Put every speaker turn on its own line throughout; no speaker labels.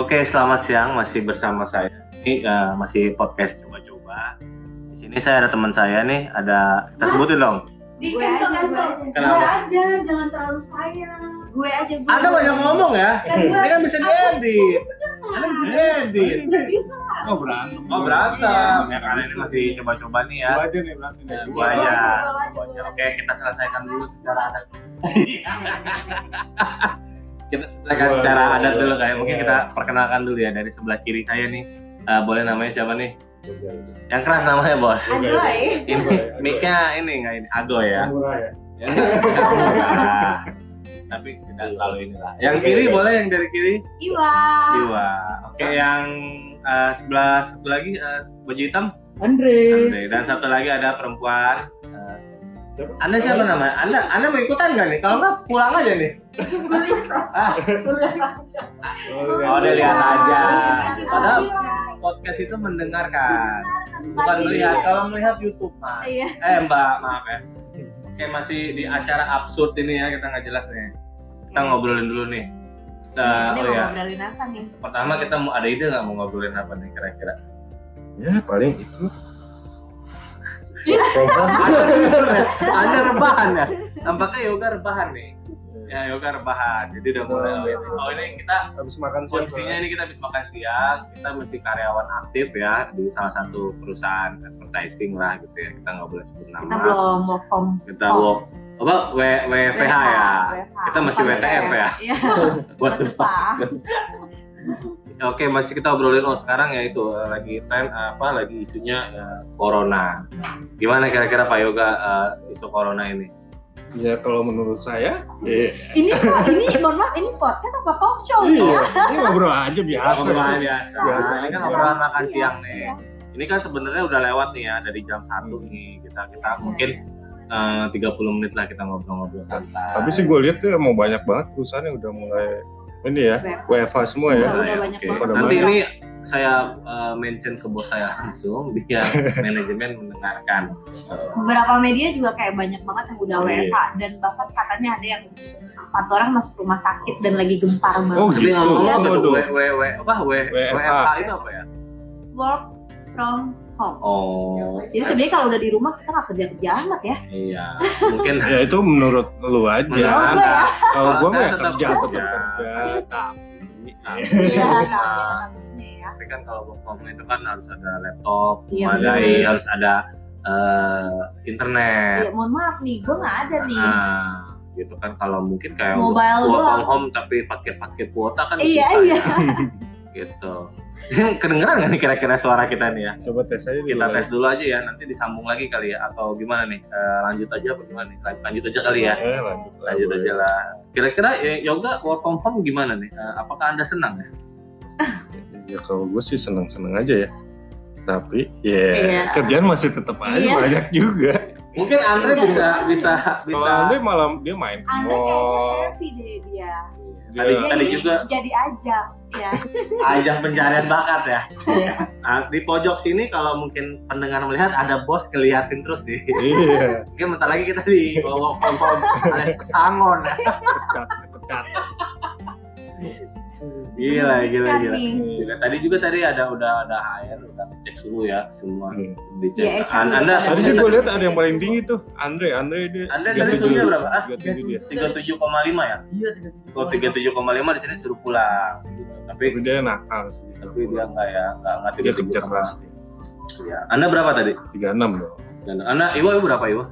Oke, selamat siang. Masih bersama saya. Ini eh, masih podcast coba-coba. Di sini saya ada teman saya nih. Ada kita
Mas.
sebutin dong.
Di
Gue
cancel
Iya,
aja,
cancel.
gue aja.
Gue
Kenapa?
aja, jangan terlalu sayang.
gue aja gue
Anda banyak ngomong ya.
Kan gue
Ini kan bisa diedit. Anda bisa diedit.
Gak bisa.
Oh berantem.
Iya.
Iya.
Oh berantem. Ya karena ini masih coba-coba nih ya.
Gua aja nih berantem.
Ya,
Gua
gua
aja.
aja.
Gua aja, gua aja.
Oke, kita selesaikan dulu secara adat. kita selesaikan
Gua,
secara
gua,
adat dulu
gua.
kayak mungkin
Iya.
kita perkenalkan dulu ya dari sebelah kiri saya nih. Eh, boleh namanya siapa nih?
Iya.
Yang keras namanya bos.
Anjay
Ini mic-nya ini nggak ini Ago ya.
Murah ya.
Ya. Nah, tapi tidak terlalu inilah. Yang kiri boleh yang dari kiri?
Iwa
Iwa. Oke, yang eh, sebelah satu lagi eh, baju hitam
Andre.
Iya.
Andre. Dan satu lagi ada perempuan. eh,
Siapa?
Anda siapa namanya? Anda Anda mau ikutan nggak nih? Kalau nggak pulang aja nih. Ah.
Gue liat aja
Oh, dia lihat aja. Padahal
Padahal
podcast itu mendengarkan, Ah, bukan melihat. Kalau melihat YouTube mas.
Iya.
Eh Mbak, maaf ya. Oke masih di acara absurd ini ya kita nggak jelas nih. Kita ngobrolin dulu nih. Eh,
Iya,
oh
Ini mau
ya,
ngobrolin apa nih
pertama kita mau ada ide nggak mau ngobrolin apa nih kira-kira?
Ya paling itu.
Iya.
Program.
Ada tidur ya? Ada rebahan ya? Tampaknya yoga rebahan nih. Ya yoga rebahan. Jadi udah mulai. Oh, ini- oh ini kita
Habis makan siang,
posisinya ini kita habis makan siang. Kita masih karyawan aktif ya di salah satu perusahaan advertising lah gitu ya. Kita nggak boleh sebut
kita
nama.
belum work from
Kita work apa W, WFH ya.
WFH.
Kita masih
Bukan
WTF ya.
Iya
What the fuck?
fuck
Oke, masih kita obrolin oh sekarang ya itu eh, lagi tren apa lagi isunya eh, corona. Gimana kira-kira Pak Yoga eh, isu corona ini?
Pak. Ya kalau menurut saya,
Iya.
ya.
Ini kok ini mohon maaf ini podcast apa talk show nih
Iya, ini ngobrol aja biasa.
Obrolan
sih.
biasa.
Biasa.
Ini kan obrolan
Iya.
makan siang nih.
Iya.
Ini kan sebenarnya udah lewat nih ya dari jam 1
Hmm.
nih. Kita kita mungkin eh, 30 menit lah kita ngobrol-ngobrol santai.
Tapi sih gue lihat tuh mau banyak banget perusahaan yang udah mulai ini
Iya.
ya, WFH semua
Udah, Iya,
ya.
udah
ya,
banyak
oke.
banget.
Udah
Nanti
banyak.
ini saya eh, mention ke bos saya langsung biar manajemen mendengarkan.
Oh,
beberapa media juga kayak banyak banget yang udah
Oh,
Iya.
WFH dan bahkan katanya ada yang empat orang masuk rumah sakit dan lagi gempar banget
Oh,
Tapi
gitu.
ngomong apa tuh?
Waduh.
W, W, W, apa? W,
WFH.
WFH itu apa ya?
work from home
Oh,
jadi sebenarnya kalau udah di rumah kita nggak kerja kerja amat ya
iya. Mungkin
Ya itu menurut lu
Menurut
aja.
gue ya.
Kalau gue mah
Saya
ya
tetap
kerja tetap
kerja.
kerja.
Iya,
Nah,
tapi ada tapinya ya.
tapi kan kalau work from home itu kan harus ada laptop,
Iya,
memadai,
benar.
harus ada eh, internet.
Ya, mohon maaf nih, gue nggak ada nih.
Nah, gitu kan kalau mungkin kayak
Mobile
work from
doang.
home tapi fakir-fakir kuota kan
Iya,
susah
iya.
ya. Gitu. Kedengeran nggak nih kira-kira suara kita nih ya?
Coba tes aja dulu.
Kita tes dulu aja ya, nanti disambung lagi kali ya atau gimana nih? Eh, lanjut aja apa gimana nih? Lan- Lanjut aja kali ya.
Eh, lanjut lah,
Lanjut
boleh.
aja lah. Kira-kira eh, yoga work from home gimana nih? Eh, apakah Anda senang ya?
Ya kalau gue sih seneng-seneng aja ya. Tapi ya
Iya.
kerjaan masih tetap aja
Iya.
banyak juga.
Mungkin Andre bisa bisa
Kalau
bisa
Andre malam dia main ke
Anda kayaknya
mall.
happy deh dia.
Tadi,
Dia-
Dia
tadi
ini
juga
jadi ajang. Ya.
ajang pencarian bakat ya.
Iya.
Nah, di pojok sini kalau mungkin pendengar melihat ada bos keliatin terus sih.
Iya,
Mungkin bentar lagi kita di bawah kompor alias pesangon.
pecat, pecat.
Gila,
Iya,
gila,
Kan
gila.
nih.
Juga, tadi juga tadi ada udah ada HR udah cek suhu ya semua
Iya.
dicek.
Iya, HR.
An- Anda
Tadi sih gue lihat ada yang paling tinggi tuh, Andre, Andre dia.
Anda tadi
37.
suhunya berapa? Ah,
37 dia.
37,5 ya?
Iya,
Kalau
Oh,
37,5 di sini suruh pulang. gitu. Tapi
Tapi dia nakal sih.
tapi dia enggak ya, enggak enggak
dia kerja
37,5.
keras dia.
Iya. Anda berapa tadi?
36 loh.
Dan Anda Iwa Iwa berapa Iwa?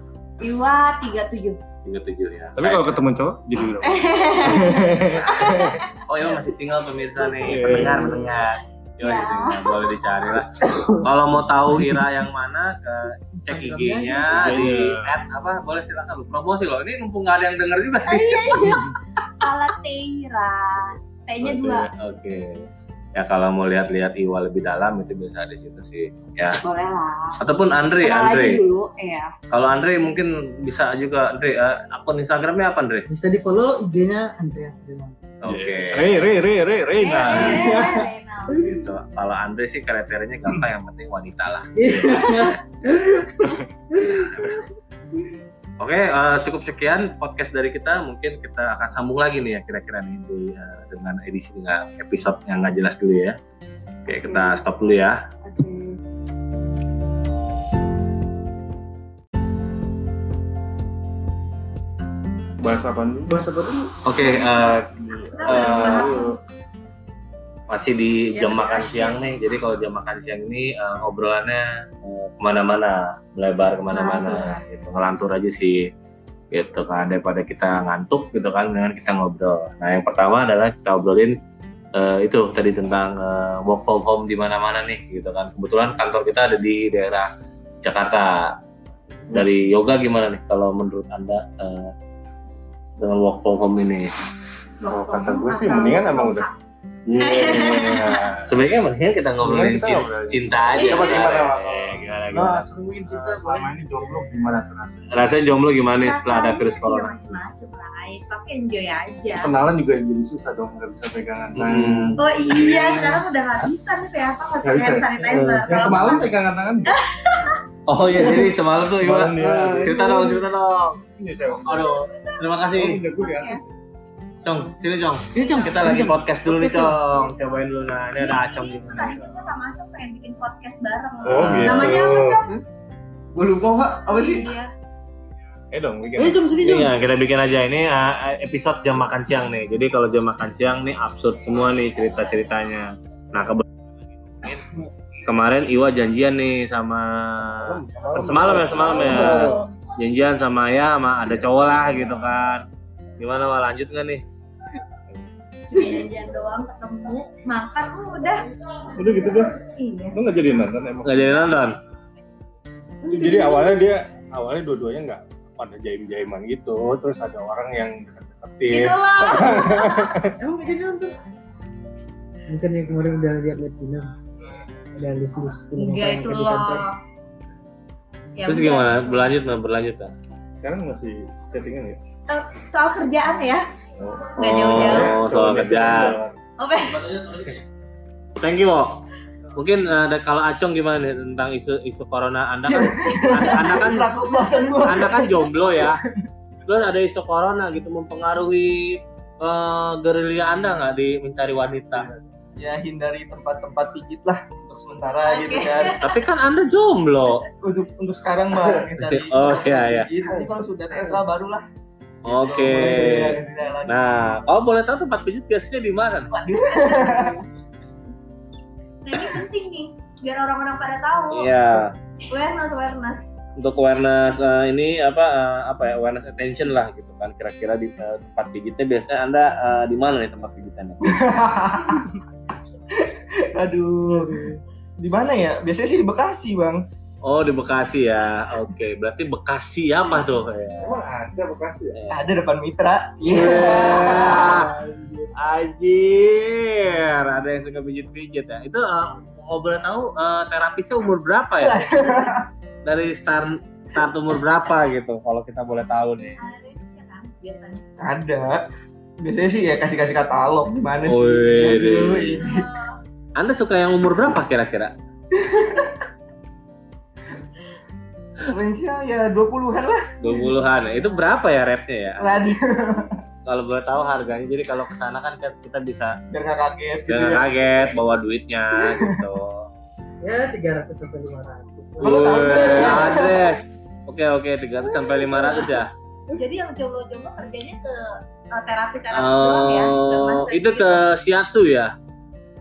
Iwa 37.
37 ya.
Tapi kalau ketemu cowok jadi berapa?
Eh,
Oh Iwa masih single pemirsa nih,
Iya.
pendengar pendengar. Iwa masih
Ya.
single, boleh dicari lah. Kalau mau tahu Ira yang mana, ke cek
gitu.
IG-nya di
Iya.
at apa? Boleh silakan promosi loh. Ini mumpung nggak ada yang denger juga sih.
Iya, iya. Ala Teira.
Oke,
T-nya iya dua.
Oke. Ya kalau mau lihat-lihat Iwa lebih dalam itu bisa di situ sih. Ya.
Boleh lah.
Ataupun Andre,
Kenal
Andre.
aja dulu, ya.
Kalau Andre mungkin bisa juga Andre eh, akun Instagramnya apa Andre?
bisa di follow IG-nya Andreas Demang.
Oke.
Re, re, re,
Eh,
re, Reina.
Gitu. Kalau Andre sih kriterianya gampang yang penting wanita lah. Oke, eh, cukup sekian podcast dari kita. Mungkin kita akan sambung lagi nih ya kira-kira nih di, eh, dengan edisi dengan episode yang nggak jelas dulu ya. Oke, kita stop dulu ya.
Bahas apa dulu? Bahas apa dulu?
Oke, eh,
Nah,
Eh,
masih di jam makan siang nih. Jadi kalau jam makan siang ini eh, obrolannya eh, kemana-mana, melebar kemana-mana, gitu ngelantur aja sih, gitu kan daripada kita ngantuk gitu kan, dengan kita ngobrol. Nah yang pertama adalah kita obrolin eh, itu tadi tentang eh, work from home di mana-mana nih, gitu kan. Kebetulan kantor kita ada di daerah Jakarta. Dari yoga gimana nih kalau menurut anda eh, dengan work from home ini?
Kalau kata gue sih mendingan emang udah. Iya.
Sebaiknya mendingan kita ngobrolin
Mendingan kita
cinta,
ngobrolin.
cinta aja.
Coba gimana,
Eh,
Bang?
gimana,
Nah,
gimana.
seruin
Cinta selama ini jomblo gimana terasa?
Rasanya jomblo gimana nih setelah ada
iya,
virus corona?
macam-macam lain, ya. tapi enjoy aja.
Ya. Kenalan juga yang jadi susah dong, nggak bisa pegangan
Hmm.
tangan.
Oh iya, sekarang udah nggak bisa nih PHP nggak
Nggak
pakai hand
bisa.
sanitizer.
eh, Yang semalam pegangan tangan nggak?
Oh iya, jadi semalam tuh
Semalam iya.
Iwa.
dia.
Cerita dong, cerita dong.
Ini cewek.
Aduh, terima kasih.
Ini gue ya.
Cong, sini Cong. Sini Cong, kita lagi podcast dulu nih Cong. Cobain dulu nah, ini ada Acong.
Iya, Itu tadi juga sama Acong pengen bikin podcast bareng.
Oh gitu.
Namanya apa,
Gue lupa pak, apa sih?
Iya.
Eh dong,
Eh
bikin.
jam sini jam.
Iya, kita bikin aja ini uh, episode jam makan siang nih. Jadi kalau jam makan siang nih absurd semua nih cerita-ceritanya. Nah, kebe- kemarin Iwa janjian nih sama semalam ya, semalam ya. Janjian sama ya sama ada cowok lah gitu kan. Gimana Wah, lanjut nggak nih?
Cuma janjian doang ketemu, makan oh, udah.
Udah gitu deh.
Iya.
Lu nggak jadi nonton emang.
Nggak jadi nonton?
Jadi awalnya dia awalnya dua-duanya nggak pada jaim-jaiman gitu, terus ada orang yang
Itu
deket-deketin.
Gitu loh.
Emang gak jadi nonton? Mungkin yang kemarin udah lihat-lihat film. Ada list-list
Iya,
film.
Enggak itu loh. Ya
Terus
udah.
gimana? Berlanjut nggak? Berlanjut nggak?
Sekarang masih chattingan ya?
Eh, soal kerjaan ya.
Oh,
Nggak jauh-jauh. Oh,
Oh, soal kerjaan.
Oke.
Thank you, Wo. Mungkin uh, ada- kalau Acong gimana nih tentang isu isu corona Anda kan Anda, Anda kan
bahasan gue.
Anda kan jomblo ya. Terus ada isu corona gitu mempengaruhi eh, gerilya Anda nggak di mencari wanita?
ya hindari tempat-tempat pijit lah untuk sementara
Oke.
gitu kan
Tapi kan Anda jomblo.
untuk untuk sekarang mah hindari
Oh,
tempat
iya, iya.
pijit. Nanti kalau sudah tetra barulah
Oke. Nah, oh boleh tahu tempat pijit biasanya di mana?
Nah ini penting nih biar orang-orang pada tahu.
Iya,
Awareness, awareness.
untuk awareness eh, ini apa eh, apa ya awareness attention lah gitu kan. Kira-kira di eh, tempat pijitnya biasanya Anda eh, di mana nih tempat pijitannya?
aduh di mana ya biasanya sih di Bekasi bang
Oh di Bekasi ya, oke. Berarti Bekasi apa tuh? Ya.
Emang ada Bekasi ya?
ada depan Mitra iya
Ajir, ada yang suka pijit-pijit ya. Itu uh, oh, boleh tahu uh, terapisnya umur berapa ya? Dari start start umur berapa gitu? Kalau kita boleh tahu nih.
Ada range-nya kan biasanya.
ada biasanya sih ya kasih-kasih katalog di mana sih
Wih,
Aduh,
wih.
iya.
Anda suka yang umur berapa kira-kira?
range-nya ya 20-an lah
20-an. ya. Itu berapa ya rate-nya ya?
aduh
Kalau boleh tahu harganya. Jadi kalau ke sana kan kita bisa
biar nggak kaget gitu
jangan
ya.
kaget bawa duitnya gitu.
Ya 300 sampai 500.
Kalau tahu
Wih,
nggak?
ada. Oke oke 300 sampai 500 ya.
Jadi yang jomblo-jomblo kerjanya ke eh, terapi-terapi doang ya. Ke
Oh,
massage
itu
gitu.
ke shiatsu ya?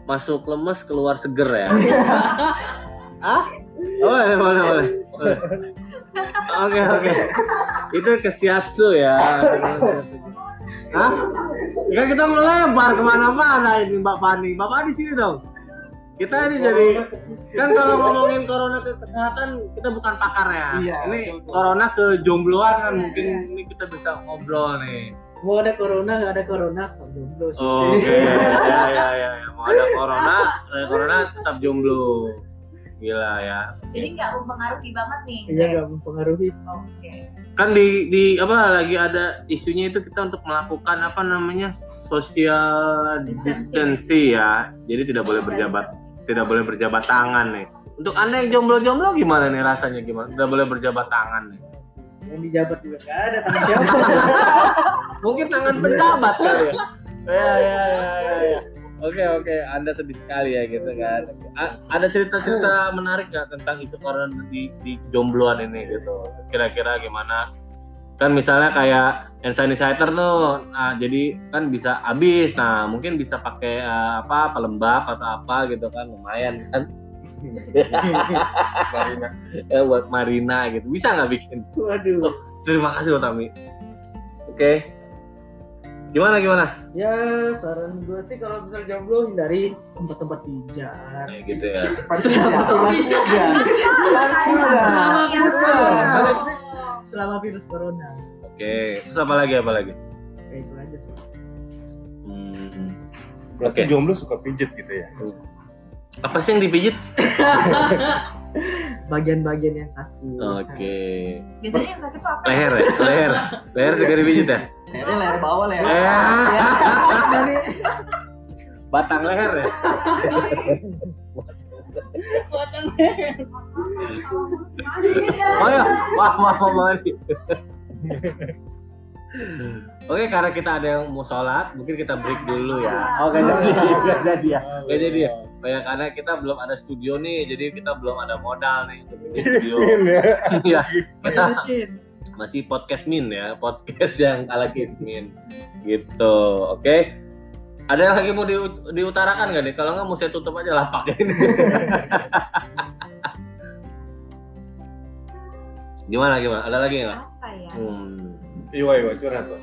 Masuk lemes, keluar seger ya? Hah? Oh, boleh, boleh, boleh. Boleh. Oke, oke. Itu ke shiatsu ya? Hah? Ya kita melebar kemana-mana ini Mbak Fani. Mbak Fani sini dong. Kita ini jadi kan kalau ngomongin corona ke kesehatan kita bukan pakarnya.
Iya,
ini
betul-betul.
corona ke jombloan kan
Iya,
mungkin ini kita bisa ngobrol nih.
Mau ada corona nggak ada corona? kok jomblo sih.
Oke, ya, ya, ya, ya. Mau ada corona, ada corona tetap jomblo. Gila ya.
Jadi nggak mempengaruhi banget nih.
Iya
kayak,
nggak mempengaruhi.
Oke.
Kan di di apa lagi ada isunya itu kita untuk melakukan apa namanya social
Distancing.
distancing ya. Jadi tidak boleh berjabat tidak boleh berjabat tangan nih. Untuk anda yang jomblo-jomblo gimana nih rasanya gimana? Tidak boleh berjabat tangan nih.
yang dijabat juga nggak ada tangan siapa mungkin tangan pejabat kali ya
ya ya ya ya, ya. Oke oke, Anda sedih sekali ya gitu kan. A- ada cerita-cerita menarik nggak tentang isu corona di, di jombloan ini gitu? Kira-kira gimana? Kan misalnya kayak hand sanitizer tuh, nah, jadi kan bisa habis. Nah mungkin bisa pakai eh, apa pelembab atau apa gitu kan lumayan kan
Marina.
eh, buat Marina gitu. Bisa nggak bikin?
waduh
Terima kasih Utami. Oke. Gimana gimana?
ya saran gue sih kalau misal jomblo hindari tempat-tempat pijat
Ya, gitu ya.
Pantes ya, pantes ya.
selama virus corona
Oke. Terus apa lagi apa lagi?
ya itu aja sih
Hmm. Oke.
Berarti jomblo suka pijet gitu ya.
apa sih yang dipijit?
bagian-bagian yang sakit
Oke.
Biasanya yang sakit tuh apa?
Leher ya? Leher. Leher juga dipijit ya?
Ini leher bawah leher.
Eh.
atas. Ya.
Batang leher ya? Oh ya? Wah, wah, wah, wah. Oke, karena kita ada yang mau sholat, mungkin kita break dulu ya. Oke, jadi, nggak jadi ya.
Nah,
Nggak jadi ya. Oh ya, karena kita belum ada studio nih, jadi kita belum ada modal nih untuk bikin studio.
Min ya.
Iya,
Masih
kita
miskin.
masih podcast min ya podcast yang ala kismin gitu oke ada yang lagi mau diut- diutarakan gak nih kalau nggak mau saya tutup aja lapaknya ini gimana gimana ada lagi nggak
Apa ya?
hmm.
Iwa iwa Iya, curhat tuh.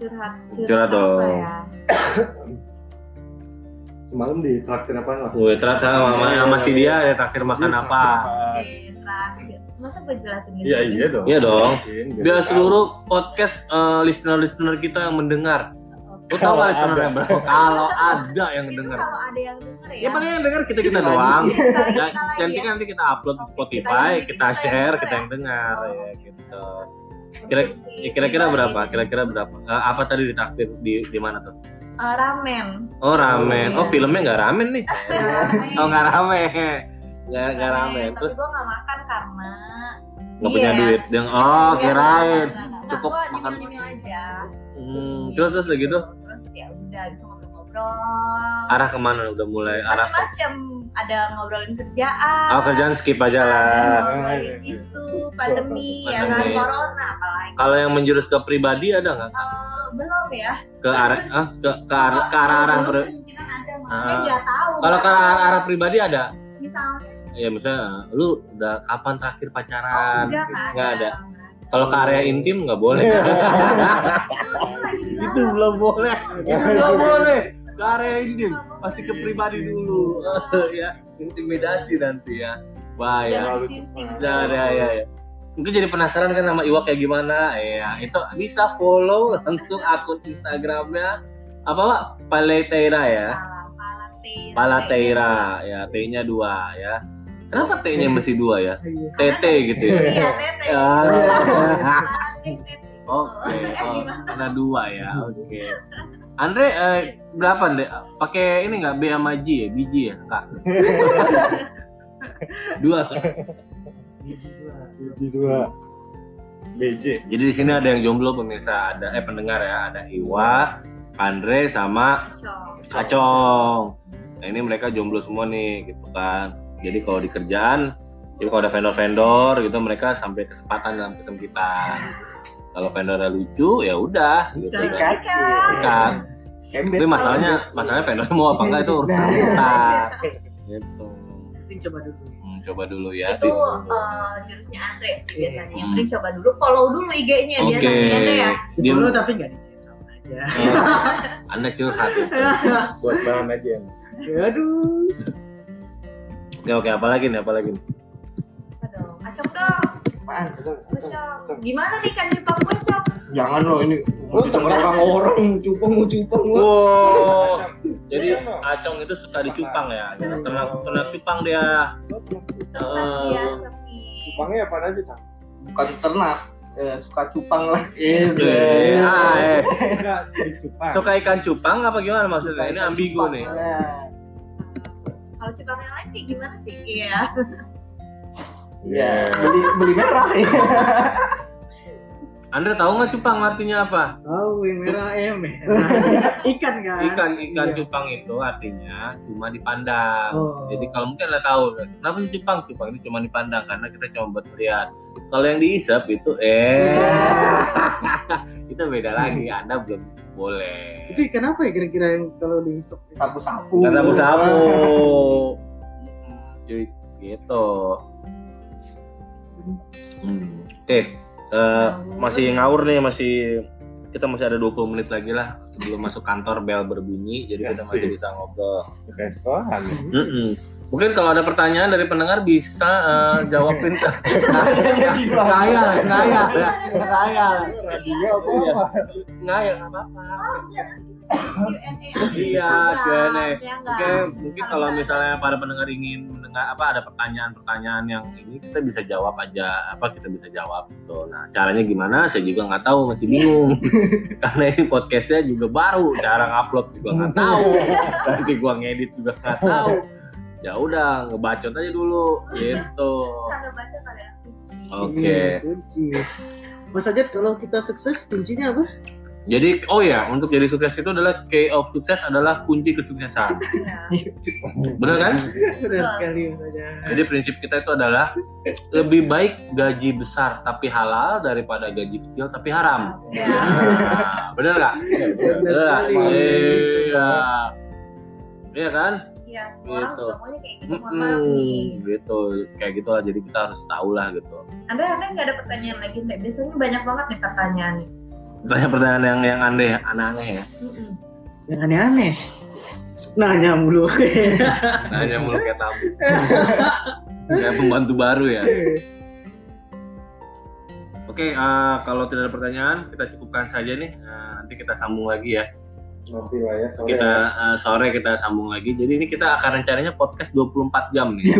Curhat,
Curhat dong.
apa ya?
Semalam di traktir apa?
Gue ternyata sama, sama, sama si dia ada traktir makan apa
Oke, terakhir. Masa gue jelasin gitu?
Ah, Iya iya dong.
Iya dong.
Jelasin,
biar
tahu.
seluruh podcast eh, listener-listener kita yang mendengar Lu tahu
Kalau
nggak listenernya
ada.
berapa? kalau ada yang
Itu
mendengar
kalau ada yang denger ya.
ya paling yang dengar kita kita doang
Iya, sekali
Ya,
kita lagi
nanti
ya.
kan nanti kita upload di
Oke,
Spotify,
kita yang-
kita
kita yang
share,
denger
kita
ya.
yang dengar ya
Oke.
gitu. Kira- Ya, kira-kira berapa? Kira-kira berapa? Eh, apa tadi ditraktir di di mana tuh?
Eh, ramen.
Oh ramen. Oh filmnya nggak ramen nih?
iya.
Oh nggak ramen. Nggak nggak ramen. Terus
Tapi gue gak makan karena
nggak punya
Iya.
duit. Yang oh
Iya,
kirain.
nggak, nggak, nggak.
Cukup
Gua
makan.
nyemil-nyemil aja
Hmm, terus terus udah gitu.
terus ya udah itu ngobrol-ngobrol
Arah kemana? Udah mulai arah.
macam-macam ada ngobrolin kerjaan
Oh kerjaan skip aja
ada
lah.
ngobrolin isu pandemi ya kan
Pandemi.
corona apalagi
Kalau yang menjurus ke pribadi ada nggak?
Eh, belum ya
Ke arah ah, ke ke arah ke arah, arah pri-
kemungkinan ada
Ah.
makanya nggak tahu
kalau ke arah, arah pribadi ada
misalnya
ya misalnya lu udah kapan terakhir
oh,
pacaran
enggak
Gitu.
nggak
Nggak ada Oh.
ada
kalau ke area intim nggak boleh itu belum boleh itu belum boleh ke area intim pasti ke pribadi dulu ya intimidasi nanti ya bahaya
Jangan
Terlalu
sinting.
cepat.
ya ya ya, ya. mungkin jadi penasaran kan sama Iwa kayak gimana ya itu bisa follow langsung akun Instagramnya apa pak Paleteira ya
Salah, Palateira.
Palateira ya T-nya dua ya kenapa T-nya mesti dua ya
Iya.
TT gitu ya
Iya, tete.
Ah.
Palateira.
Oke,
Eh,
oh,
gimana?
ada dua ya. Oke. Andre eh, berapa Andre? Pakai ini nggak B sama J ya? Biji ya, Kak? dua.
Gitu lah.
Biji dua. BJ.
Jadi di sini ada yang jomblo pemirsa, ada eh pendengar ya, ada Iwa, Andre sama
Cocok.
Acong. Nah, ini mereka jomblo semua nih gitu kan. Jadi kalau di kerjaan, jadi kalau ada vendor-vendor gitu mereka sampai kesempatan dalam kesempitan. Kalau vendornya lucu ya udah gitu.
Sikat.
Sikat.
Kembet.
Tapi masalahnya masalahnya vendor mau apa enggak itu urusan kita. Gitu.
Mending coba dulu
Hmm, coba dulu ya.
itu
Di-
eh, jurusnya Andre sih biasanya. Yang
Hmm.
penting coba dulu, follow dulu IG-nya
Oke.
biasanya Andre ya.
Dia-
dulu tapi nggak dicek sama aja
Anda curhat.
Buat bahan aja.
aduh
Ya oke, apalagi nih, apalagi nih.
Apa dong? Acok dong,
Apaan?
Lu, Cok. Gimana nih kan jepang gue cok?
Jangan loh ini. Lo denger orang-orang cupang cupang lo.
Wow. Jadi Acong itu suka dicupang ya. Kena kena cupang dia.
Terus
Eh.
dia cok nih.
Cupangnya apa aja Kang?
Bukan ternak. Eh, suka cupang lah. Eh,
Eh, ah, eh.
Suka jadi cupang.
Suka ikan cupang apa gimana maksudnya? Ini ambigu nih.
Nah,
Kalau jepang yang lain kayak gimana sih? Iya.
iya. ya beli beli merah.
Anda tahu nggak cupang artinya apa?
Tahu yang merah ayam ya. Ikan kan?
Ikan ikan
Iya.
cupang itu artinya cuma dipandang.
Oh.
Jadi kalau mungkin Anda tahu kenapa sih cupang? Cupang itu cuma dipandang karena kita cuma buat melihat. Kalau yang diisap itu eh
Iya.
itu beda lagi. Anda belum boleh.
Itu ikan apa ya kira-kira yang kalau dihisap?
sapu-sapu
Kata Bu Samu. Jadi gitu. Hmm. Oke, eh, masih ngawur nih, masih kita masih ada 20 menit lagi lah sebelum masuk kantor bel berbunyi, jadi kita masih
Asik.
bisa ngobrol.
Kayak sekolahan.
Mm-mm. Mungkin kalau ada pertanyaan dari pendengar bisa eh, jawabin ke
Tanya di bawah.
Ngaya, ngaya, ngaya, Iya,
Tadinya apa?
ngaya, nggak apa-apa.
Q&A aja
Iya,
Instagram,
Q&A.
ya nggak?
Oke,
Nah,
mungkin
Kalau
kalau
nggak
misalnya para pendengar ingin mendengar apa ada pertanyaan-pertanyaan yang ini kita bisa jawab aja apa kita bisa jawab gitu. Nah caranya gimana? Saya juga nggak tahu masih bingung karena ini podcastnya juga baru cara ngupload juga nggak tahu nanti gua ngedit juga nggak tahu. Ya udah ngebacot aja dulu gitu.
Kalau baca pada
Oke.
Iya, Kunci. Mas Ajat kalau kita sukses kuncinya apa?
Jadi oh ya untuk jadi sukses itu adalah key of sukses adalah kunci kesuksesan.
Iya.
Benar kan?
Benar sekali Mas Ajat.
Jadi prinsip kita itu adalah lebih baik gaji besar tapi halal daripada gaji kecil tapi haram.
Ya.
Nah, bener nggak? Bener nggak?
sekali.
Iya. Iya kan?
Iya, semua orang
Gitu.
juga maunya kayak gitu mohon maaf nih.
Mm-mm, gitu. Kayak gitu lah. Jadi kita harus tahu lah gitu.
Anda Anda nggak ada pertanyaan lagi nggak? Biasanya banyak banget nih pertanyaan.
Pertanyaan-pertanyaan yang yang aneh, aneh-aneh ya.
Mm-mm.
Yang aneh-aneh. Nanya mulu.
Nanya mulu kayak tamu. kayak pembantu baru ya. Oke, eh, kalau tidak ada pertanyaan, kita cukupkan saja nih. Eh, nanti kita sambung lagi ya.
Nanti lah ya sore.
kita uh, sore kita sambung lagi. Jadi ini kita akan rencananya podcast 24 jam nih.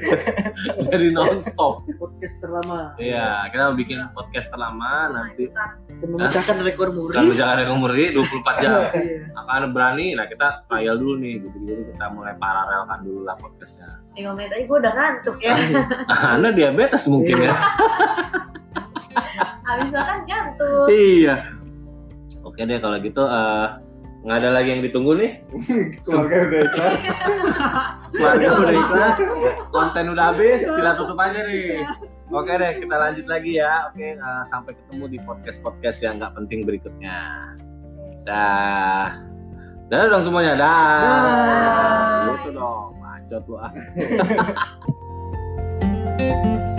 Jadi nonstop.
Podcast terlama.
Iya, kita mau bikin podcast terlama
Nah,
nanti
kan
Dan memecahkan rekor muri.
kalau misalkan yang umur ini 24 jam
Iya.
akan berani. Nah kita trial dulu nih, gitu. Jadi kita mulai paralelkan dulu lah podcastnya.
Lima menit aja gue udah ngantuk ya.
Anda diabetes mungkin ya?
Habis makan ngantuk.
Iya. Oke deh kalau gitu eh, nggak ada lagi yang ditunggu nih.
Keluarga udah ikhlas.
Keluarga udah ikhlas, konten udah habis, kita tutup aja nih. Oke deh, kita lanjut lagi ya. Oke, eh, sampai ketemu di podcast-podcast yang nggak penting berikutnya. Dah. Dah dong semuanya, dah.
Dah.
Gitu dong, bacot lu ah.